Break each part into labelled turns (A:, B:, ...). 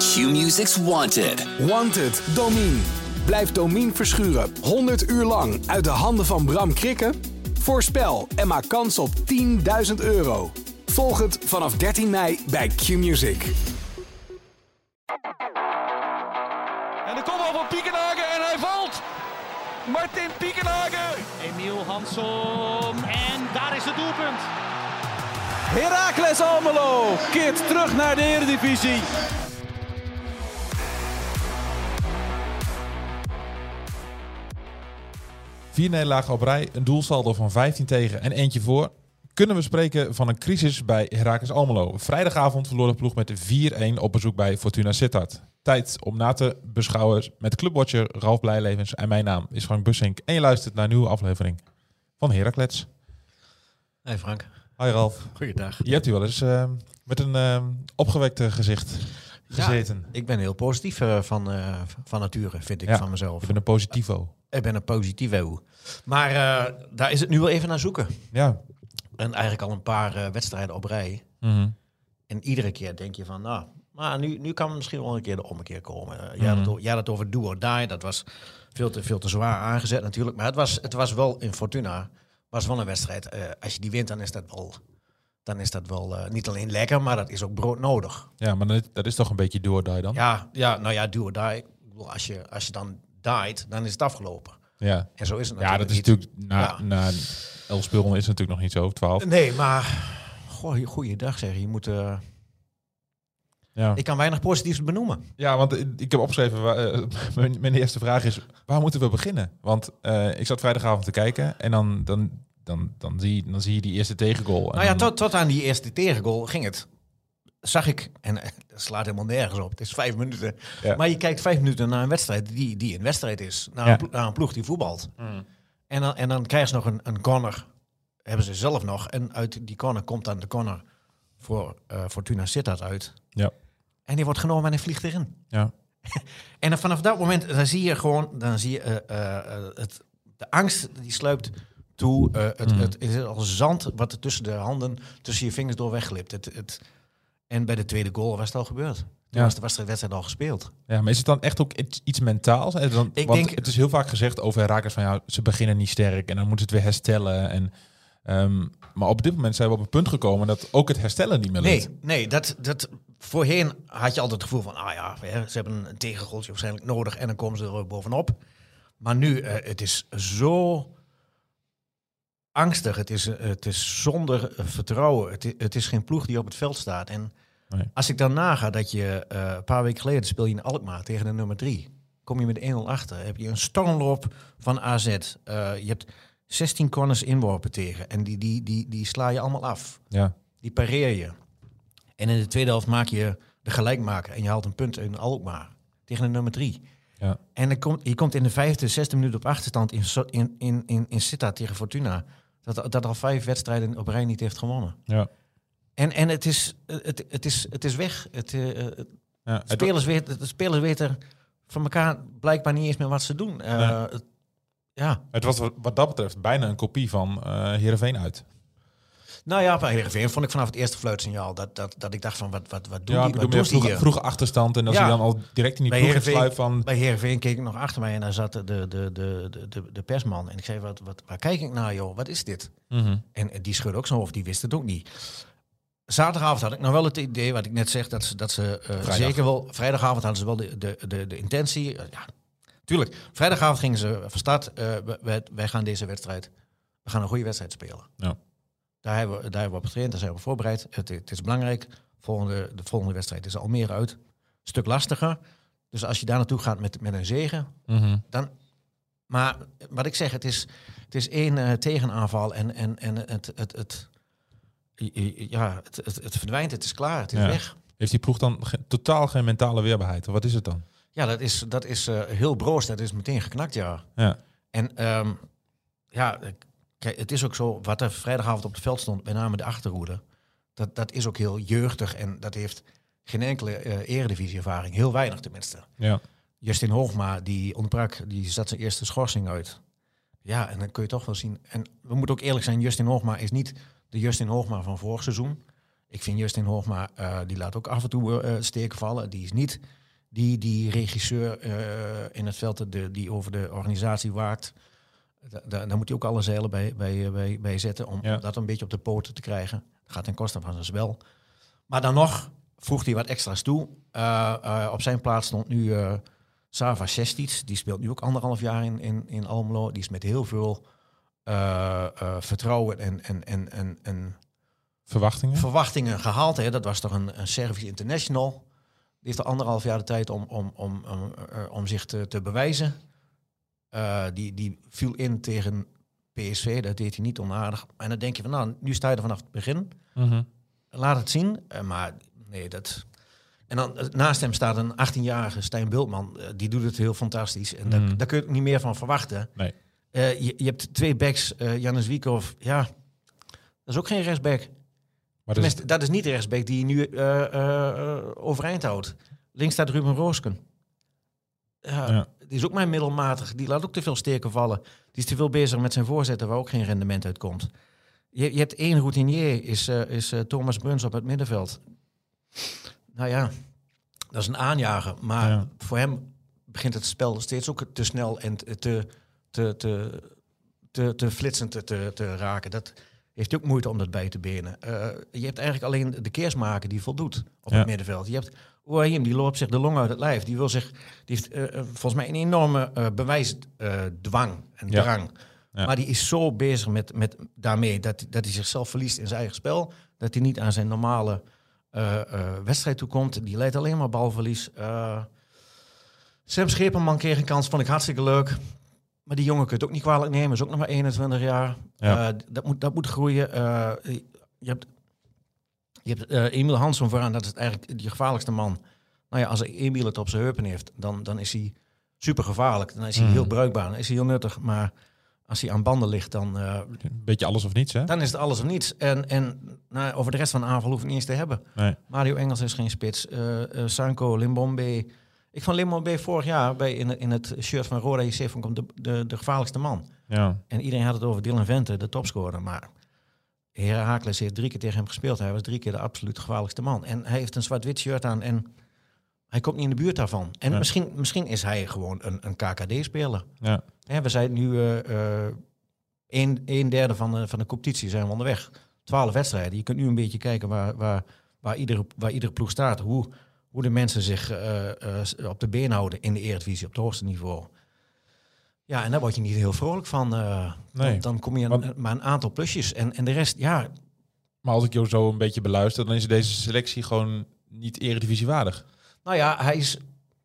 A: Q-Music's Wanted.
B: Wanted, Domien. Blijf Domien verschuren 100 uur lang uit de handen van Bram Krikke? Voorspel en maak kans op 10.000 euro. Volg het vanaf 13 mei bij Q-Music.
C: En de kopbal van Piekenhagen en hij valt. Martin Piekenhagen.
D: Emiel Hansom. En daar is het doelpunt.
E: Heracles Almelo keert terug naar de Eredivisie.
F: Vier nederlagen op rij, een doelsaldo van 15 tegen en eentje voor. Kunnen we spreken van een crisis bij Heracles Almelo? Vrijdagavond verloor de ploeg met 4-1 op bezoek bij Fortuna Sittard. Tijd om na te beschouwen met clubwatcher Ralf Blijlevens en mijn naam is Frank Bussink. En je luistert naar een nieuwe aflevering van Heracles.
G: Hey Frank,
F: Hoi Ralf,
G: goeiedag.
F: je hebt hier wel eens eh, met een eh, opgewekte gezicht gezeten.
G: Ik ben heel positief eh, van, eh, van nature, vind ik
F: Ja,
G: van mezelf.
F: Je bent een positivo.
G: Ik ben een positieve. Maar eh, daar is het nu wel even naar zoeken.
F: Ja.
G: En eigenlijk al een paar eh, wedstrijden op rij.
F: Mhm.
G: En iedere keer denk je van, nou, maar nu, nu kan misschien wel een keer de ommekeer komen. Eh, jij, had het, o- jij had het over do or die, dat was veel te, veel te zwaar aangezet natuurlijk. Maar het was, het was wel in Fortuna, was wel een wedstrijd. Eh, als je die wint, dan is dat wel, dan is dat wel eh, niet alleen lekker, maar dat is ook broodnodig.
F: ja, maar dat- dat is toch een beetje door daar dan?
G: Ja, ja nou ja, do or die. Ik bedoel, als, je, als je dan died, dan is het afgelopen.
F: ja.
G: En zo is het
F: Ja,
G: natuurlijk
F: dat is
G: niet.
F: natuurlijk na,
G: Ja.
F: na elf speelronden is het natuurlijk nog niet zo, twaalf.
G: Nee, maar... Goh, goeiedag zeg. Je moet... eh,
F: Ja.
G: ik kan weinig positiefs benoemen.
F: ja, want eh, ik heb opgeschreven, waar, eh, mijn, mijn eerste vraag is, waar moeten we beginnen? Want eh, ik zat vrijdagavond te kijken en dan, dan, dan, dan, zie, je- dan zie je die eerste tegengoal. En
G: Nou ja,
F: dan-
G: tot, tot aan die eerste tegengoal ging het. Zag ik, en eh, dat slaat helemaal nergens op. Het is vijf minuten.
F: Ja.
G: Maar je kijkt vijf minuten naar een wedstrijd die, die een wedstrijd is. Naar,
F: Ja. Hmm.
G: een, plo- naar een ploeg die voetbalt. En, dan, en dan krijgen ze nog een, een corner. Hebben ze zelf nog. En uit die corner komt dan de corner voor eh, Fortuna Sittard uit.
F: Ja,
G: En die wordt genomen en hij vliegt erin.
F: ja,
G: En dan vanaf dat moment, dan zie je gewoon, dan zie je eh, eh, eh, het, de angst die sluipt toe. Eh, het, het is als zand wat er tussen de handen, tussen je vingers door wegglipt. Het, het, en bij de tweede goal was het al gebeurd. Toen
F: Ja.
G: was, de, was de wedstrijd al gespeeld.
F: ja, maar is het dan echt ook iets- iets mentaals? Eh, Dan,
G: Ik
F: want
G: denk-
F: het is heel vaak gezegd over Herakles van, ja, ze beginnen niet sterk en dan moeten ze het weer herstellen. En, ehm, maar op dit moment zijn we op een punt gekomen dat ook het herstellen niet meer lukt.
G: Nee, nee dat, dat, voorheen had je altijd het gevoel van, ah ja, hè, ze hebben een tegengoaltje waarschijnlijk nodig en dan komen ze er ook bovenop. Maar nu, eh, het is zo angstig, het is, eh, het is zonder eh, vertrouwen, het, i- het is geen ploeg die op het veld staat. En
F: Nee.
G: als ik dan naga dat je eh, een paar weken geleden speel je in Alkmaar tegen de nummer 3, kom je met 1-0 achter, heb je een stormloop van AZ, Eh, je hebt 16 corners inworpen tegen en die, die, die, die sla je allemaal af.
F: Ja,
G: Die pareer je. En in de tweede helft maak je de gelijkmaker. En je haalt een punt in Alkmaar. Tegen de nummer drie.
F: ja,
G: En dan komt, je komt in de vijfde, zesde minuut op achterstand in, Zo- in, in, in, in Sittard tegen Fortuna. Dat, dat al vijf wedstrijden op rij niet heeft gewonnen.
F: ja.
G: En, en het, is, het, het, is, het is weg. Het, eh, eh, het-
F: ja. Het-
G: spelers weten, de spelers weten van elkaar blijkbaar niet eens meer wat ze doen. Eh,
F: Nee.
G: het- ja.
F: Het was wat- wat dat betreft bijna een kopie van eh Heerenveen uit.
G: Nou ja, bij Heerenveen vond ik vanaf het eerste fluitsignaal dat, dat, dat ik dacht van wat, wat, wat doen
F: ja, ik
G: die,
F: bedoel,
G: wat
F: je hebt
G: doen die
F: vroeg,
G: hier?
F: vroege achterstand en als
G: Ja.
F: je dan al direct in die
G: Bij
F: ploeg
G: Heerenveen-
F: sluit van...
G: Bij Heerenveen keek ik nog achter mij en daar zat de, de, de, de, de, de persman. En ik zei, wat, wat, waar kijk ik naar joh? Wat is dit?
F: Mhm.
G: En, en die schudde ook zijn hoofd, die wist het ook niet. Zaterdagavond had ik nou wel het idee, wat ik net zeg, dat ze, dat ze eh,
F: Vrijdag.
G: zeker wel... Vrijdagavond hadden ze wel de, de, de, de intentie. Eh, ja, tuurlijk, vrijdagavond gingen ze van start. eh, we- we- wij gaan deze wedstrijd, we gaan een goede wedstrijd spelen.
F: Ja.
G: Daar, hebben we, daar hebben we op getraind, daar zijn we voorbereid. Het, het is belangrijk. Volgende, de volgende wedstrijd is Almere uit. Stuk lastiger. Dus als je daar naartoe gaat met, met een zegen,
F: Mhm.
G: dan, maar wat ik zeg, het is, het is één eh, tegenaanval en, en, en het, het, het, ja, het, het, het verdwijnt, het is klaar, het is
F: Ja.
G: weg.
F: Heeft die ploeg dan ge- totaal geen mentale weerbaarheid? Of Wat is het dan?
G: Ja, dat is, dat is eh, heel broos, dat is meteen geknakt, ja.
F: Ja,
G: En ehm, ja, eh, kijk, het is ook zo, wat er vrijdagavond op het veld stond, met name de achterhoede, dat, dat is ook heel jeugdig en dat heeft geen enkele eh eredivisie-ervaring, heel weinig tenminste.
F: ja.
G: Justin Hoogma, die ontbrak, die zat zijn eerste schorsing uit. Ja, en dan kun je toch wel zien. En we moeten ook eerlijk zijn, Justin Hoogma is niet de Justin Hoogma van vorig seizoen. Ik vind Justin Hoogma, eh, die laat ook af en toe eh, steken eh, vallen. Die is niet die, die regisseur eh, in het veld de, die over de organisatie waakt. da- da- daar moet hij ook alle zeilen bij, bij, eh, bij, bij zetten om
F: Ja.
G: om dat een beetje op de poten te krijgen. Dat gaat ten koste van zijn spel. Maar dan nog voegt hij wat extra's toe. Eh, eh, op zijn plaats stond nu eh, Sava Sestic. Die speelt nu ook anderhalf jaar in, in, in Almelo. Die is met heel veel eh, eh, vertrouwen en, en, en, en, en
F: Verwachtingen?
G: verwachtingen gehaald. Hè? Dat was toch een, een Servisch international. Die heeft er anderhalf jaar de tijd om, om, om, om, eh, om zich te, te bewijzen. Eh, die, die viel in tegen PSV, dat deed hij niet onaardig. En dan denk je van, nou, nu sta je er vanaf het begin.
F: Mhm.
G: Laat het zien. Eh, maar nee, dat... En dan eh, naast hem staat een 18-jarige Stijn Bultman. Eh, die doet het heel fantastisch. En daar,
F: Mm.
G: daar kun je ook niet meer van verwachten.
F: Nee.
G: Eh, je, je hebt twee backs, eh Janus Wiekhoff. Ja, dat is ook geen rechtsback.
F: Maar dus,
G: Tenminste, dat is niet de rechtsback die je nu eh, eh, eh, overeind houdt. Links staat Ruben Roosken. Ja,
F: Ja.
G: Die is ook maar middelmatig. Die laat ook te veel steken vallen. Die is te veel bezig met zijn voorzetten, waar ook geen rendement uit komt. Je, je hebt één routinier, is, eh, is eh, Thomas Bruns op het middenveld. Nou ja, dat is een aanjager. Maar
F: Ja.
G: voor hem begint het spel steeds ook te snel en te, te, te, te, te, te flitsend te, te, te raken. Dat heeft hij ook moeite om dat bij te benen. Eh, je hebt eigenlijk alleen de keersmaker die voldoet op
F: Ja.
G: het middenveld. Je hebt Oahim, die loopt zich de long uit het lijf. Die, wil zich, die heeft eh, eh, volgens mij een enorme eh, bewijsdwang en
F: Ja.
G: drang.
F: Ja.
G: Maar die is zo bezig met, met daarmee dat, dat hij zichzelf verliest in zijn eigen spel. Dat hij niet aan zijn normale eh, eh, wedstrijd toekomt. Die leidt alleen maar balverlies. Eh, Sam Schepenman kreeg een kans, vond ik hartstikke leuk. Maar die jongen kun je het ook niet kwalijk nemen. Is ook nog maar 21 jaar.
F: Ja.
G: Eh, dat, moet, dat moet groeien. Eh, je hebt, je hebt eh, Emiel Hansen vooraan. Dat is eigenlijk je gevaarlijkste man. Nou ja, als Emiel het op zijn heupen heeft, dan, dan is hij super gevaarlijk. Dan is hij
F: Mhm.
G: heel bruikbaar. Dan is hij heel nuttig. Maar als hij aan banden ligt, dan, eh,
F: een beetje alles of niets, hè?
G: dan is het alles of niets. En, en nou, over de rest van de aanval hoef ik niet eens te hebben.
F: Nee.
G: Mario Engels is geen spits. Eh, eh, Sanko, Limbombe. Ik vond Limbombe vorig jaar bij, in, in het shirt van Roda JC vond ik hem de, de, de gevaarlijkste man.
F: Ja.
G: En iedereen had het over Dylan Vente, de topscorer. Maar Herakles heeft drie keer tegen hem gespeeld. Hij was drie keer de absoluut gevaarlijkste man. En hij heeft een zwart-wit shirt aan en hij komt niet in de buurt daarvan. En
F: Nee.
G: misschien, misschien is hij gewoon een, een KKD-speler.
F: ja.
G: Hè, we zijn nu eh, eh, een, een derde van de, van de competitie zijn we onderweg. Twaalf wedstrijden. Je kunt nu een beetje kijken waar, waar, waar, iedere, waar iedere ploeg staat. Hoe, hoe de mensen zich eh, eh, s- op de been houden in de Eredivisie, op het hoogste niveau. Ja, en daar word je niet heel vrolijk van. eh.
F: Nee.
G: dan, dan kom je aan,
F: Want-
G: maar een aantal plusjes. En, en de rest, ja,
F: Maar als ik jou zo een beetje beluister, dan is deze selectie gewoon niet eredivisiewaardig
G: nou ja, hij is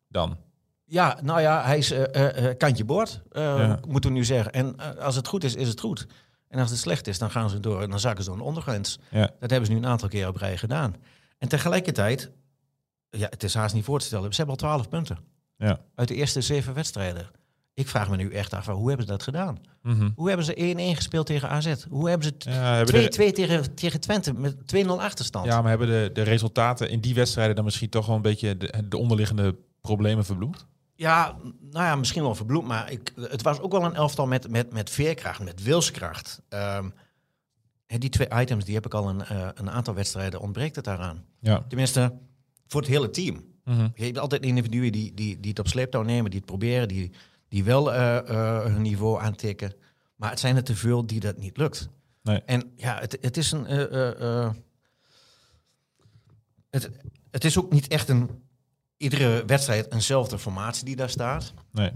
F: dan.
G: Ja, nou ja, hij is eh, eh, eh, kantje boord, eh,
F: Ja.
G: moeten we nu zeggen. En eh, als het goed is, is het goed. En als het slecht is, dan gaan ze door en dan zakken ze door een ondergrens.
F: Ja.
G: Dat hebben ze nu een aantal keer op rij gedaan. En tegelijkertijd, ja, het is haast niet voor te stellen, ze hebben al twaalf punten.
F: Ja.
G: Uit de eerste zeven wedstrijden. Ik vraag me nu echt af, hoe hebben ze dat gedaan?
F: Mhm.
G: Hoe hebben ze 1-1 gespeeld tegen AZ? Hoe hebben ze t-
F: Ja, hebben
G: 2-2
F: de-
G: tegen, tegen Twente met 2-0 achterstand?
F: ja, maar hebben de, de resultaten in die wedstrijden dan misschien toch wel een beetje de, de onderliggende problemen verbloemd?
G: Ja, nou ja, misschien wel verbloemd, maar ik, het was ook wel een elftal met, met, met veerkracht, met wilskracht. Ehm, hè, die twee items die heb ik al een, eh, een aantal wedstrijden ontbreekt het daaraan.
F: Ja.
G: Tenminste, voor het hele team.
F: Mhm.
G: Je hebt altijd individuen die, die, die het op sleeptouw nemen, die het proberen, die, die wel eh, eh, hun niveau aantikken. Maar het zijn er te veel die dat niet lukt.
F: Nee.
G: En ja, het, het is een. eh, eh, eh, het, het is ook niet echt een. Iedere wedstrijd eenzelfde formatie die daar staat.
F: Nee.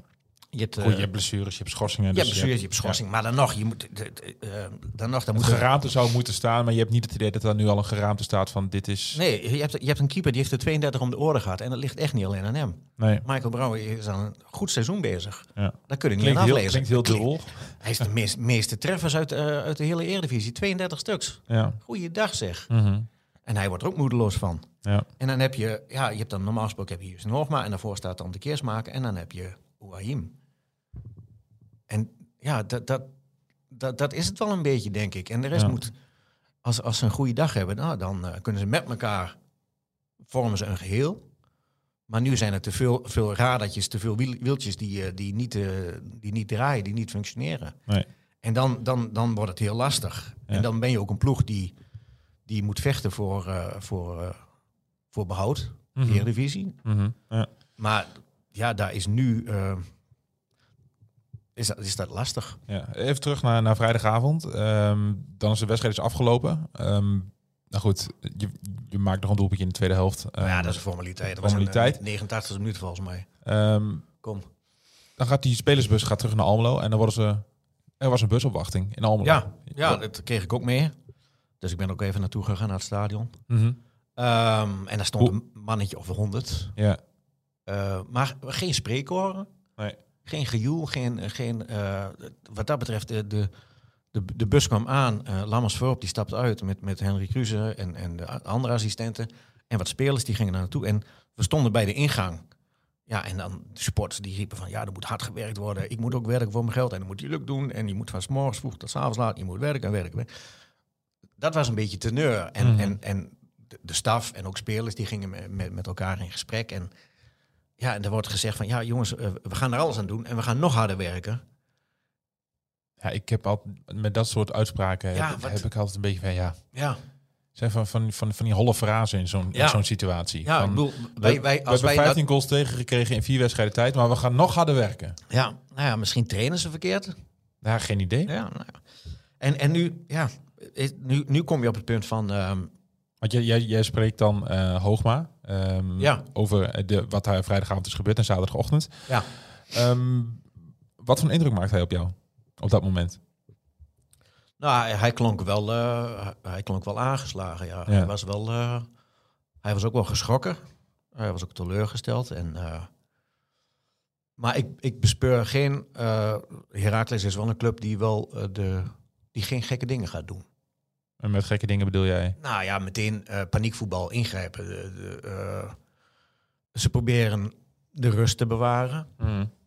G: Je hebt, eh,
F: Goed, je hebt blessures, je hebt schorsingen.
G: je hebt
F: dus
G: blessures, je hebt schorsing. Maar dan nog, je moet, de- de- eh, dan nog, dan
F: Het
G: moet er-
F: geraamte zou moeten staan, maar je hebt niet het idee dat daar nu al een geraamte staat van dit is...
G: Nee, je hebt, je hebt een keeper die heeft er 32 om de oren gehad. En dat ligt echt niet alleen aan hem.
F: Nee.
G: Michael Brouwer is aan een goed seizoen bezig.
F: Ja.
G: Daar kun je niet
F: Klinkt
G: aan
F: heel,
G: aflezen.
F: klinkt heel dubbel.
G: Hij is de meest, meeste treffers uit, eh, uit de hele Eredivisie. 32 stuks.
F: Ja.
G: Goeiedag zeg.
F: Mhm.
G: En hij wordt er ook moedeloos van.
F: Ja.
G: En dan heb je, ja, je hebt dan normaal gesproken heb je Justin Hoogma en daarvoor staat dan de Keersmaker en dan heb je Ouahim. En ja, dat, dat, dat, dat is het wel een beetje, denk ik. En de rest
F: Ja.
G: moet, als, als ze een goede dag hebben, nou, dan eh, kunnen ze met elkaar vormen ze een geheel. Maar nu zijn er te veel, veel radertjes, te veel wiel- wieltjes die, eh, die, niet, eh, die niet draaien, die niet functioneren.
F: Nee.
G: En dan, dan, dan wordt het heel lastig.
F: Ja.
G: En dan ben je ook een ploeg die, die moet vechten voor, eh, voor, eh, voor behoud. Eredivisie.
F: Mhm, ja.
G: Maar ja, daar is nu... eh, is, dat, is dat lastig?
F: Ja, even terug naar, naar vrijdagavond. Ehm, dan is de wedstrijd dus afgelopen. Ehm, nou goed, je, je maakt nog een doelpuntje in de tweede helft.
G: Maar ja,
F: Ehm,
G: dat is een formaliteit. Dat
F: formaliteit.
G: was een, eh, 89e minuut volgens mij.
F: ehm,
G: Kom.
F: dan gaat die spelersbus gaat terug naar Almelo en dan worden ze... Er was een busopwachting in Almelo.
G: Ja, ja, dat kreeg ik ook mee. Dus ik ben ook even naartoe gegaan naar het stadion.
F: Mhm.
G: Ehm, en daar stond
F: Hoe-
G: een mannetje of honderd.
F: ja.
G: Eh, maar geen spreekoren.
F: Nee.
G: Geen gejoel. Geen, geen, eh, wat dat betreft, eh, de, de, de bus kwam aan. eh Lammers voorop die stapte uit met, met Henry Kruse en, en de a- andere assistenten. En wat spelers die gingen daar naartoe. En we stonden bij de ingang. Ja, en dan de supporters die riepen van... ja, er moet hard gewerkt worden. Ik moet ook werken voor mijn geld. En dat moet Juluk doen. En je moet van 's morgens vroeg tot 's avonds laat. Je moet werken en werken. Dat was een beetje teneur. En, en, en de- de staf en ook spelers die gingen me- met, met elkaar in gesprek. En ja, en er wordt gezegd van... ja, jongens, eh, we gaan er alles aan doen. En we gaan nog harder werken.
F: ja, ik heb altijd... Met dat soort uitspraken
G: Ja,
F: heb,
G: wat-
F: heb ik altijd een beetje van... Ja,
G: Ja,
F: zijn van, van, van, van die holle frazen in zo'n
G: Ja.
F: in zo'n situatie.
G: ja ik
F: Van,
G: bedoel...
F: we-
G: Wij, wij,
F: we
G: als
F: hebben
G: wij dat-
F: 15 goals tegengekregen in vier wedstrijden tijd, maar we gaan nog harder werken.
G: ja, nou ja, misschien trainen ze verkeerd.
F: Ja, geen idee.
G: Ja, nou ja. En, en nu, ja, eh, nu, nu kom je op het punt van... ehm,
F: Want jij, jij, jij spreekt dan eh, Hoogma ehm,
G: Ja.
F: over eh, de, wat daar vrijdagavond is gebeurd en zaterdagochtend.
G: ja,
F: Ehm, wat voor een indruk maakt hij op jou op dat moment?
G: Nou, hij, hij klonk wel, eh, hij klonk wel aangeslagen. Ja.
F: Ja.
G: Hij, was wel, eh, hij was ook wel geschrokken. Hij was ook teleurgesteld. En, eh, maar ik, ik bespeur geen. eh Heracles is wel een club die, wel, eh, de, die geen gekke dingen gaat doen.
F: En met gekke dingen bedoel jij?
G: Nou ja, meteen eh, paniekvoetbal ingrijpen. De- de, eh, ze proberen de rust te bewaren.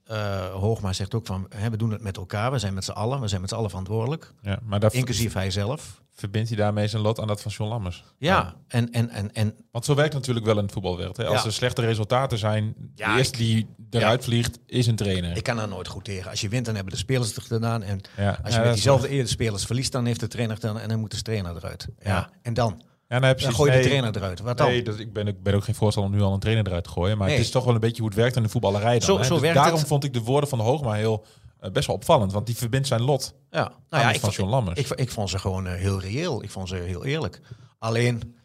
G: Eh, Hoogma zegt ook van, hè, we doen het met elkaar. We zijn met z'n allen. We zijn met z'n allen verantwoordelijk.
F: Ja, maar daar
G: Inclusief hij zelf.
F: verbindt hij daarmee zijn lot aan dat van John Lammers.
G: Ja, en, en, en, en
F: Want zo werkt het natuurlijk wel in het voetbalwereld. Hè? Als
G: Ja.
F: er slechte resultaten zijn, de
G: Ja,
F: eerste die eruit vliegt is een trainer.
G: ik kan daar nooit goed tegen. Als je wint, dan hebben de spelers het gedaan. En
F: Ja,
G: als
F: ja,
G: je
F: dat
G: met
F: is
G: diezelfde eer de spelers verliest, dan heeft de trainer het gedaan en dan moet de trainer eruit. Ja,
F: Ja.
G: en dan?
F: ja, nee, precies.
G: Dan gooi je
F: Nee.
G: de trainer eruit. Wat dan?
F: Nee, dat, ik, ben, ik ben ook geen voorstander om nu al een trainer eruit te gooien. Maar het
G: Nee.
F: is toch wel een beetje hoe het werkt in de voetballerij. Dan,
G: Zo-
F: hè?
G: zo
F: Dus
G: werkt
F: daarom
G: het.
F: vond ik de woorden van de Hoogma heel, eh, best wel opvallend. Want die verbindt zijn lot
G: ja. Nou
F: aan
G: ja,
F: dat
G: ik,
F: van
G: vond-
F: John Lammers.
G: ik, ik vond ze gewoon eh, heel reëel. Ik vond ze heel eerlijk. Alleen,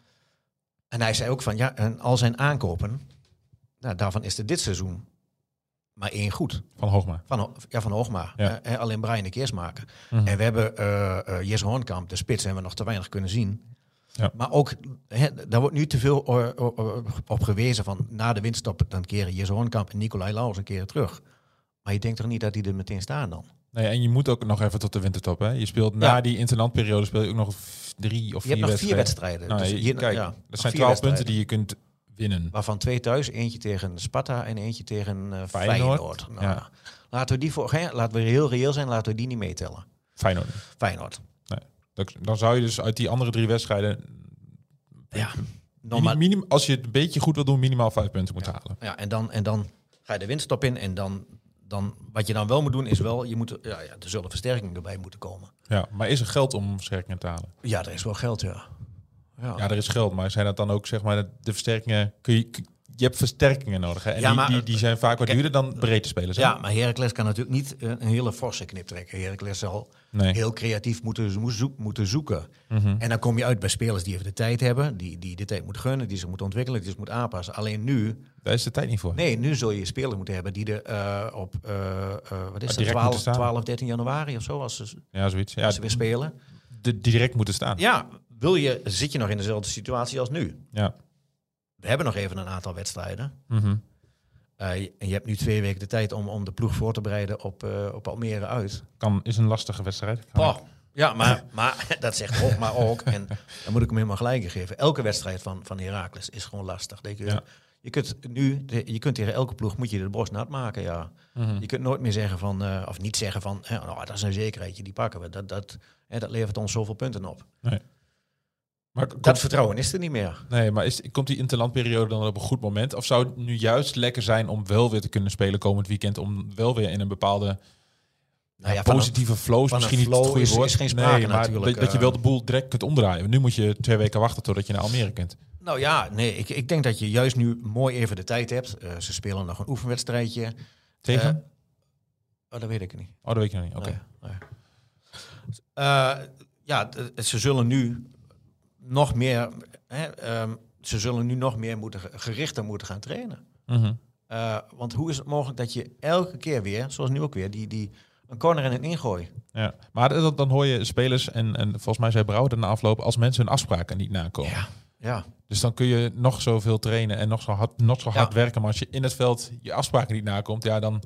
G: en hij zei ook van, ja, en al zijn aankopen, nou, daarvan is er dit seizoen maar één goed.
F: van Hoogma.
G: Van, Ho- ja, van Hoogma.
F: Ja. Mhm.
G: Eh, alleen Brian de Keers maken. En we hebben eh eh Jesse Hoornkamp, de spits, hebben we nog te weinig kunnen zien.
F: Ja.
G: Maar ook, hè, daar wordt nu te veel eh, eh, eh, op gewezen van na de winststop dan keren Jesse Hoornkamp en Nicolai Lauwers een keer terug. Maar je denkt toch niet dat die er meteen staan dan?
F: Nee, en je moet ook nog even tot de wintertop. Hè? Je speelt na
G: Ja.
F: die internantperiode speel je ook nog v- drie of
G: Je
F: vier
G: hebt nog vier
F: wedstrijden.
G: wedstrijden.
F: Nou,
G: Dus
F: je-
G: je-
F: kijk,
G: ja,
F: dat
G: nog
F: zijn
G: vier
F: twaalf punten
G: wedstrijden.
F: die je kunt winnen.
G: Waarvan twee thuis, eentje tegen Sparta en eentje tegen eh
F: Feyenoord.
G: Feyenoord. Nou,
F: Ja.
G: Laten we die voor, hè, laten we heel reëel zijn, laten we die niet meetellen.
F: Feyenoord.
G: Feyenoord.
F: Nee. Dat- Dan zou je dus uit die andere drie wedstrijden,
G: Ja.
F: minim- minim, als je het een beetje goed wil doen, minimaal vijf punten moeten halen.
G: Ja, en dan, en dan ga je de winststop in. En dan, dan, wat je dan wel moet doen, is wel, je moet, ja, ja, er zullen versterkingen bij moeten komen.
F: Ja, maar is er geld om versterkingen te halen?
G: Ja, er is wel geld, ja. Ja,
F: Ja, er is geld, maar zijn dat dan ook zeg maar de versterkingen? Kun je, kun- je hebt versterkingen nodig. Hè? En
G: Ja,
F: die,
G: maar-
F: die, die zijn vaak wat
G: Kijk, eh,
F: duurder dan breedte spelers. hè?
G: ja maar Heracles kan natuurlijk niet eh, een hele forse knip trekken. Heracles zal
F: Nee.
G: heel creatief moeten, zo- zoek- moeten zoeken. En dan kom je uit bij spelers die even de tijd hebben, die, die de tijd moeten gunnen, die ze moeten ontwikkelen, die ze moeten aanpassen. Alleen nu,
F: Daar is de tijd niet voor.
G: nee, nu zul je spelers moeten hebben die er eh, op, eh, eh, wat is
F: moeten
G: het, 12,
F: staan.
G: 12, 13 januari of zo, als ze,
F: Ja, zoiets. Ja,
G: als ze weer spelen.
F: de, direct moeten staan.
G: Ja, wil je, zit je nog in dezelfde situatie als nu?
F: Ja.
G: We hebben nog even een aantal wedstrijden.
F: Mhm.
G: Eh, je- en je hebt nu twee weken de tijd om, om de ploeg voor te bereiden op, eh, op Almere uit.
F: Kan, is een lastige wedstrijd.
G: Oh, ja, maar, maar dat zegt ook, maar ook. En dan moet ik hem helemaal gelijk in geven. Elke wedstrijd van, van Heracles is gewoon lastig. Denk je,
F: Ja.
G: je kunt nu, de- je kunt tegen elke ploeg moet je de borst nat maken, ja. Je kunt nooit meer zeggen van, eh, of niet zeggen van, hè, nou, dat is een zekerheidje, die pakken we. Dat, dat, hè, dat levert ons zoveel punten op.
F: Maar, komt,
G: Dat vertrouwen is er niet meer.
F: nee, maar is, komt die interlandperiode dan op een goed moment? Of zou het nu juist lekker zijn om wel weer te kunnen spelen komend weekend? Om wel weer in een bepaalde
G: Nou ja, van een-
F: positieve flow, is
G: van een
F: misschien niet het
G: flow
F: goede
G: is-
F: woord.
G: is geen sprake
F: nee, maar
G: natuurlijk,
F: dat, dat je
G: eh.
F: wel de boel direct kunt omdraaien. Nu moet je twee weken wachten totdat je naar Almere kunt.
G: Nou ja, nee, ik, ik denk dat je juist nu mooi even de tijd hebt. Eh, ze spelen nog een oefenwedstrijdje.
F: Tegen?
G: Oh, dat weet ik niet.
F: oh, dat weet je nog niet. Oké.
G: Nee, nee. Eh, ja, d- ze zullen nu nog meer, hè, ehm, ze zullen nu nog meer moeten, ge- gerichter moeten gaan trainen.
F: Mhm.
G: Eh, want hoe is het mogelijk dat je elke keer weer, zoals nu ook weer, die, die een corner en een ingooi.
F: Ja. Maar dat, dan hoor je spelers, en, en volgens mij zei Brouwer na afloop, als mensen hun afspraken niet nakomen.
G: Ja,
F: Dus dan kun je nog zoveel trainen en nog zo hard, nog zo
G: Ja.
F: hard werken. Maar als je in het veld je afspraken niet nakomt, ja, dan.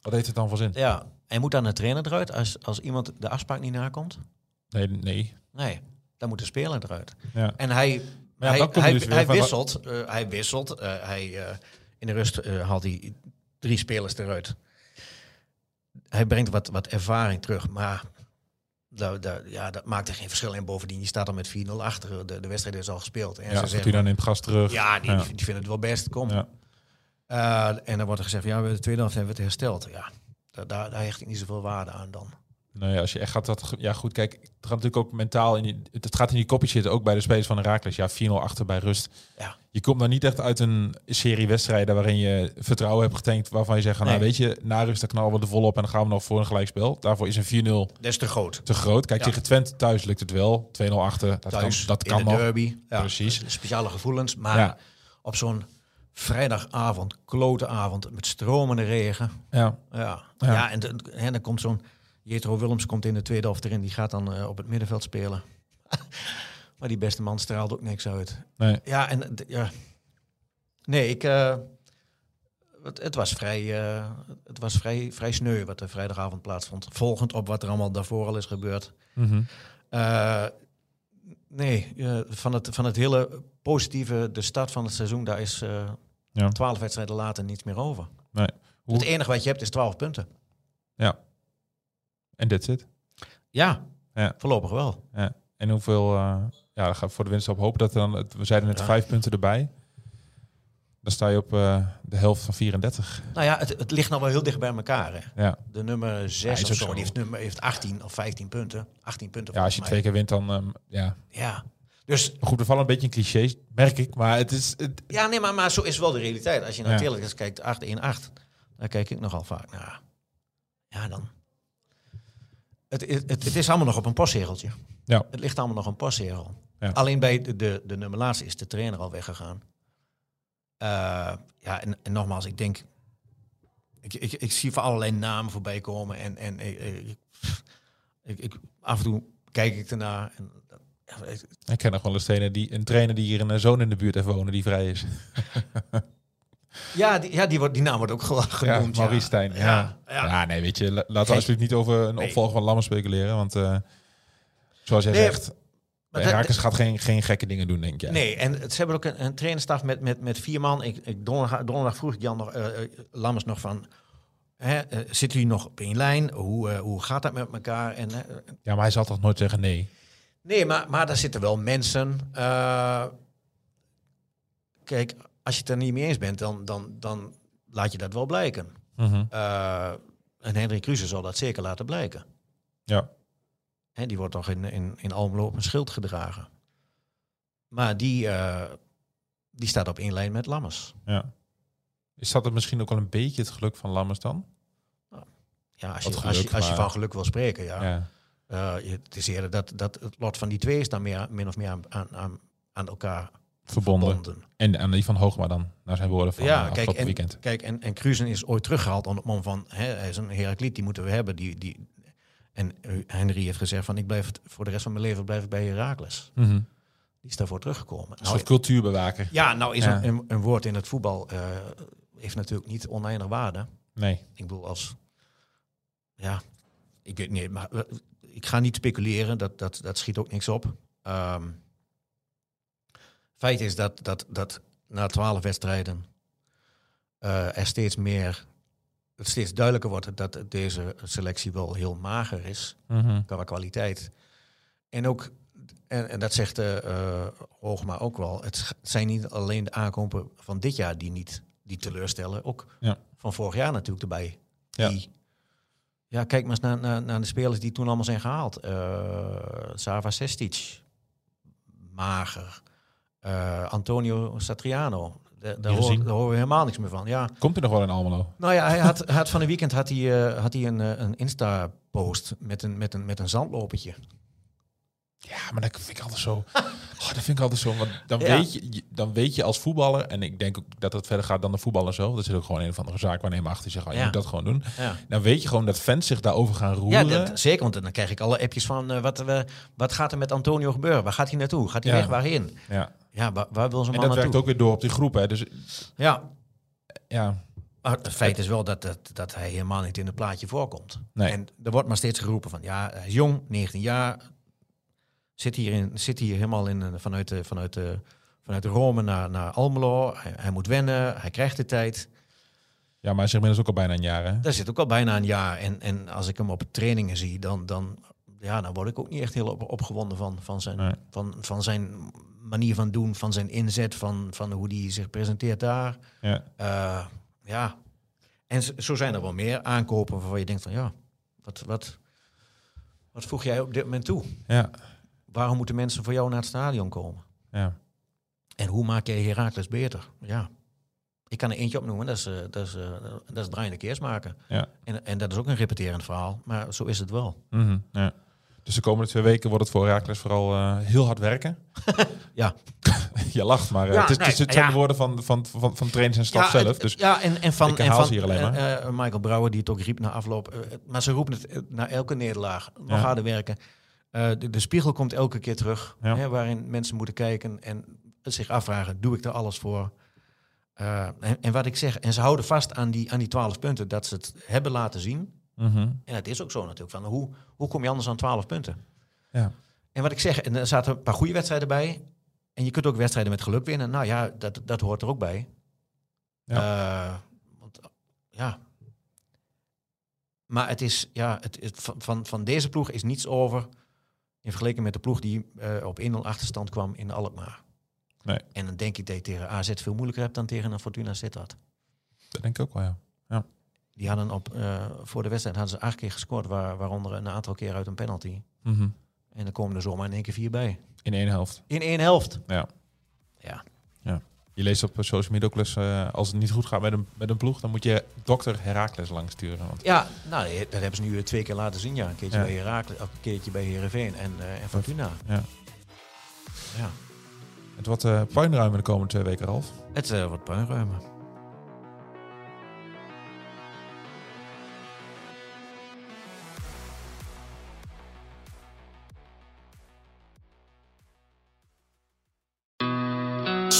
F: Wat heeft het dan voor zin?
G: ja. En moet dan een trainer eruit als, als iemand de afspraak niet nakomt?
F: Nee, nee.
G: Nee, dan moet de speler eruit.
F: Ja.
G: En hij,
F: Maar ja,
G: hij,
F: dan kom je
G: hij,
F: dus weer
G: hij
F: van-
G: wisselt. eh, hij wisselt. eh, hij, eh, in de rust eh, haalt hij drie spelers eruit. Hij brengt wat, wat ervaring terug, maar dat, dat, ja, dat maakt er geen verschil in. Bovendien, je staat al met 4-0 achter. De, de wedstrijd is al gespeeld. En
F: Ja,
G: ze
F: Fortuna
G: zeggen,
F: neemt gas terug.
G: ja, die,
F: Ja.
G: die vinden het wel best. Kom.
F: Ja.
G: Eh, en dan wordt er gezegd, ja, we de tweede helft hebben we het hersteld. Ja, daar, daar, daar hecht ik niet zoveel waarde aan dan.
F: Nee, Nou als je echt gaat dat. Ja, goed, kijk, het gaat natuurlijk ook mentaal in die, het gaat in die kopjes zitten, ook bij de spelers van Herakles. Ja, 4-0 achter bij rust.
G: Ja.
F: Je komt dan niet echt uit een serie wedstrijden waarin je vertrouwen hebt getankt, waarvan je zegt, nou
G: Nee.
F: weet je, na rust dan knallen we er volop en dan gaan we nog voor een gelijkspel. Daarvoor is een 4-0
G: Dat is te groot.
F: te groot. Kijk,
G: Ja.
F: tegen Twente thuis lukt het wel. 2-0 achter. Dat
G: Thuis,
F: kan, dat kan
G: in de
F: nog.
G: derby. Ja,
F: Precies.
G: Speciale gevoelens, maar
F: Ja.
G: op zo'n vrijdagavond, klote avond, met stromende regen.
F: Ja.
G: Ja,
F: Ja.
G: ja. en, dan- hè, dan komt zo'n... Jetro Willems komt in de tweede helft erin, die gaat dan eh, op het middenveld spelen. maar die beste man straalt ook niks uit.
F: Nee.
G: Ja, en... eh, d- Ja. Nee, ik... eh, het, het was, vrij, eh, het was vrij, vrij sneu wat er vrijdagavond plaatsvond. Volgend op wat er allemaal daarvoor al is gebeurd.
F: Mhm.
G: Eh, nee, eh, van, het, van het hele positieve, de start van het seizoen, daar is eh
F: Ja.
G: twaalf wedstrijden later niets meer over.
F: Nee. Hoe-
G: Het enige wat je hebt is 12 punten.
F: En that's it.
G: Ja,
F: Ja.
G: voorlopig wel.
F: En hoeveel... eh, ja, dan gaan we voor de winst op hopen dat er dan... het- We zeiden net
G: Ja.
F: vijf punten erbij. Dan sta je op eh, de helft van 34.
G: Nou ja, het, het ligt nou wel heel dicht bij elkaar. Hè.
F: Ja,
G: De nummer
F: is
G: 6
F: ook
G: of zo,
F: zo.
G: die heeft, nummer, heeft 18 of 15 punten. 18 punten
F: ja als je
G: volgens
F: twee keer wint, dan... ehm, ja.
G: mij. Ja, dus
F: Goed, we vallen een beetje in clichés, merk ik. Maar het is... Het,
G: ja, nee, maar, maar zo is wel de realiteit. Als je naar
F: Ja.
G: Telegraaf kijkt, 8-1-8, daar kijk ik nogal vaak naar. Ja, dan. Het, het, het, het is allemaal nog op een postzegeltje.
F: Ja.
G: Het ligt allemaal nog op een postzegel.
F: Ja.
G: Alleen bij de, de, de nummer laatste is de trainer al weggegaan. Eh, ja, en, en nogmaals, ik denk... Ik, ik, ik zie van allerlei namen voorbij komen. En, en eh, eh, ik, ik, ik- af en toe kijk ik ernaar. En, ja, het-
F: ik ken nog wel eens trainer die, een trainer die hier een eh, zoon in de buurt heeft wonen die vrij is.
G: Ja, die, ja, die, wordt, die naam wordt ook ge-
F: Ja,
G: genoemd.
F: Maurice Stijn. Ja. Ja.
G: ja.
F: nee, weet je, la- laten we
G: Nee.
F: alsjeblieft niet over een opvolger van Lammer speculeren. Want eh, zoals jij
G: Nee,
F: zegt,
G: Maar dat-
F: Herakles gaat geen, geen gekke dingen doen, denk jij.
G: Nee, en het- ze hebben ook een, een trainerstaf met, met, met vier man. Ik, ik donderdag, donderdag vroeg ik Jan nog, eh, eh, Lammers nog van... Hè, eh, zitten jullie nog op één lijn? Hoe, eh, hoe gaat dat met elkaar? En, eh,
F: Ja, maar hij zal toch nooit zeggen nee.
G: nee, maar, maar daar zitten wel mensen. eh, kijk, als je het er niet mee eens bent, dan, dan, dan laat je dat wel blijken. Eh, en Hendrik Kruse zal dat zeker laten blijken.
F: Ja.
G: Hè, die wordt toch in, in, in Almelo op een schild gedragen. Maar die, eh, die staat op één lijn met Lammers.
F: ja. Is dat het misschien ook wel een beetje het geluk van Lammers dan?
G: Ja, als je,
F: Wat geluk,
G: als je, als je
F: maar-
G: van geluk wil spreken, ja.
F: Ja.
G: Eh, je- het is eerder dat, dat het lot van die twee is dan meer, min of meer aan, aan, aan, aan elkaar
F: Verbonden.
G: verbonden.
F: En aan die van Hoogma dan, naar zijn woorden van
G: ja,
F: ja,
G: kijk,
F: afgelopen
G: en,
F: weekend.
G: kijk, en, en Cruzen is ooit teruggehaald onder het mom van... Hè, hij is een Herakliet, die moeten we hebben. Die, die, en eh, Henry heeft gezegd van, ik blijf het, voor de rest van mijn leven blijf ik bij Herakles.
F: Mhm.
G: Die is daarvoor teruggekomen.
F: Een
G: Nou,
F: soort cultuurbewaker.
G: Ja, nou is
F: Ja.
G: Een, een, een woord in het voetbal eh, heeft natuurlijk niet oneindig waarde.
F: Nee.
G: Ik bedoel, als. Ja, ik weet niet, maar eh, ik ga niet speculeren, dat, dat, dat schiet ook niks op. Ehm, feit is dat, dat, dat na twaalf wedstrijden eh, er steeds meer. Het steeds duidelijker wordt dat deze selectie wel heel mager is
F: Mhm.
G: qua kwaliteit. En ook, en, en dat zegt eh eh, Hoogma ook wel, het sch- zijn niet alleen de aankopen van dit jaar die niet die teleurstellen, ook
F: Ja.
G: van vorig jaar natuurlijk erbij.
F: Ja.
G: Die, ja, kijk maar eens naar, naar, naar de spelers die toen allemaal zijn gehaald. Eh Sava Sestic, mager. Eh, eh, Antonio Satriano. Daar, daar,
F: gezien?
G: hoor, daar horen we helemaal niks meer van. Ja.
F: Komt hij nog wel in Almelo?
G: Nou ja, hij had, had van een weekend had hij, eh, had hij een, eh, een Insta-post met een, met, een, met een zandlopertje.
F: Ja, maar dat vind ik altijd zo. Oh, dat vind ik altijd zo. Want dan,
G: Ja.
F: weet je, je- dan weet je als voetballer, en ik denk ook dat het verder gaat dan de voetballer zelf. Dat zit ook gewoon een of andere zaak waarnemen achter. Die zegt, oh, je
G: Ja.
F: moet dat gewoon doen.
G: Ja.
F: Dan weet je gewoon dat fans zich daarover gaan
G: Ja,
F: roeren.
G: dat, zeker. Want dan krijg ik alle appjes van eh, wat, we wat gaat er met Antonio gebeuren? Waar gaat hij naartoe? Gaat hij
F: Ja.
G: weg? Waarheen?
F: Ja.
G: Ja, waar, waar wil zijn
F: En
G: man
F: dat werkt
G: naartoe?
F: ook weer door op die groep. Hè. Dus
G: Ja,
F: ja,
G: maar het feit is wel dat, dat, dat hij helemaal niet in het plaatje voorkomt.
F: Nee.
G: En er wordt maar steeds geroepen van ja, hij is jong, 19 jaar. Zit hier, in, zit hier helemaal in, eh, vanuit, eh, vanuit, eh, vanuit Rome naar, naar Almelo. Hij, hij moet wennen, hij krijgt de tijd.
F: ja, maar hij is inmiddels ook al bijna een jaar. Hè?
G: Daar zit ook al bijna een jaar. En, en als ik hem op trainingen zie, dan, dan, ja, dan word ik ook niet echt heel op, opgewonden van, van, zijn,
F: Nee.
G: van, van zijn manier van doen, van zijn inzet, van, van hoe hij zich presenteert daar.
F: Ja.
G: Eh, ja. En z- zo zijn er wel meer aankopen waarvan je denkt van ja, wat, wat, wat voeg jij op dit moment toe?
F: Ja.
G: Waarom moeten mensen voor jou naar het stadion komen?
F: Ja.
G: En hoe maak jij Herakles beter? Ja. Ik kan er eentje opnoemen, dat is, eh, dat is, eh, dat is draaiende keers maken.
F: Ja.
G: En, en dat is ook een repeterend verhaal, maar zo is het wel.
F: Mhm, ja. Dus de komende twee weken wordt het voor Herakles vooral eh, heel hard werken.
G: Ja,
F: Je lacht, maar eh,
G: Ja,
F: het, is, het is- het
G: nee,
F: zijn
G: ja.
F: de woorden van, van, van, van trainers en staf
G: ja,
F: zelf.
G: het-
F: Dus
G: ja, en, en van,
F: ik
G: en
F: herhaal
G: van
F: ze hier alleen maar.
G: eh, eh, Michael Brouwer, die het ook riep na afloop. eh, eh, maar ze roepen het eh, na elke nederlaag. Nog
F: Ja.
G: harder werken. Eh, de, de spiegel komt elke keer terug.
F: Ja.
G: Hè, waarin mensen moeten kijken en zich afvragen, doe ik er alles voor? Eh, en, en wat ik zeg, en ze houden vast aan die, aan die 12 punten, dat ze het hebben laten zien.
F: mhm,
G: En het is ook zo natuurlijk. Van hoe, hoe kom je anders aan 12 punten?
F: ja.
G: En wat ik zeg, en er zaten een paar goede wedstrijden bij. En je kunt ook wedstrijden met geluk winnen. Nou ja, dat, dat hoort er ook bij. Eh, want, ja. Maar het is, ja, het, het- van- van, van deze ploeg is niets over in vergelijking met de ploeg die eh, op 1-0 achterstand kwam in Alkmaar.
F: Nee.
G: En dan denk ik dat je tegen AZ veel moeilijker hebt dan tegen een Fortuna Sittard.
F: dat denk ik ook wel, ja.
G: Die hadden op, eh, voor de wedstrijd hadden ze acht keer gescoord, waar, waaronder een aantal keer uit een penalty.
F: Mhm.
G: En dan komen er zomaar in één keer vier bij.
F: In één helft.
G: In één helft.
F: Ja.
G: Ja.
F: Je leest op eh, social media ook wel eens, eh, als het niet goed gaat met een, met een ploeg, dan moet je dokter Herakles langsturen. Want
G: Ja, nou, dat hebben ze nu eh, twee keer laten zien. Ja. Een keertje
F: Ja.
G: bij Herakles, of een keertje bij Heerenveen en, eh, en Fortuna.
F: Ja.
G: ja.
F: het wordt eh puinruimen de komende twee weken, Ralf.
G: Het eh, wordt puinruimen.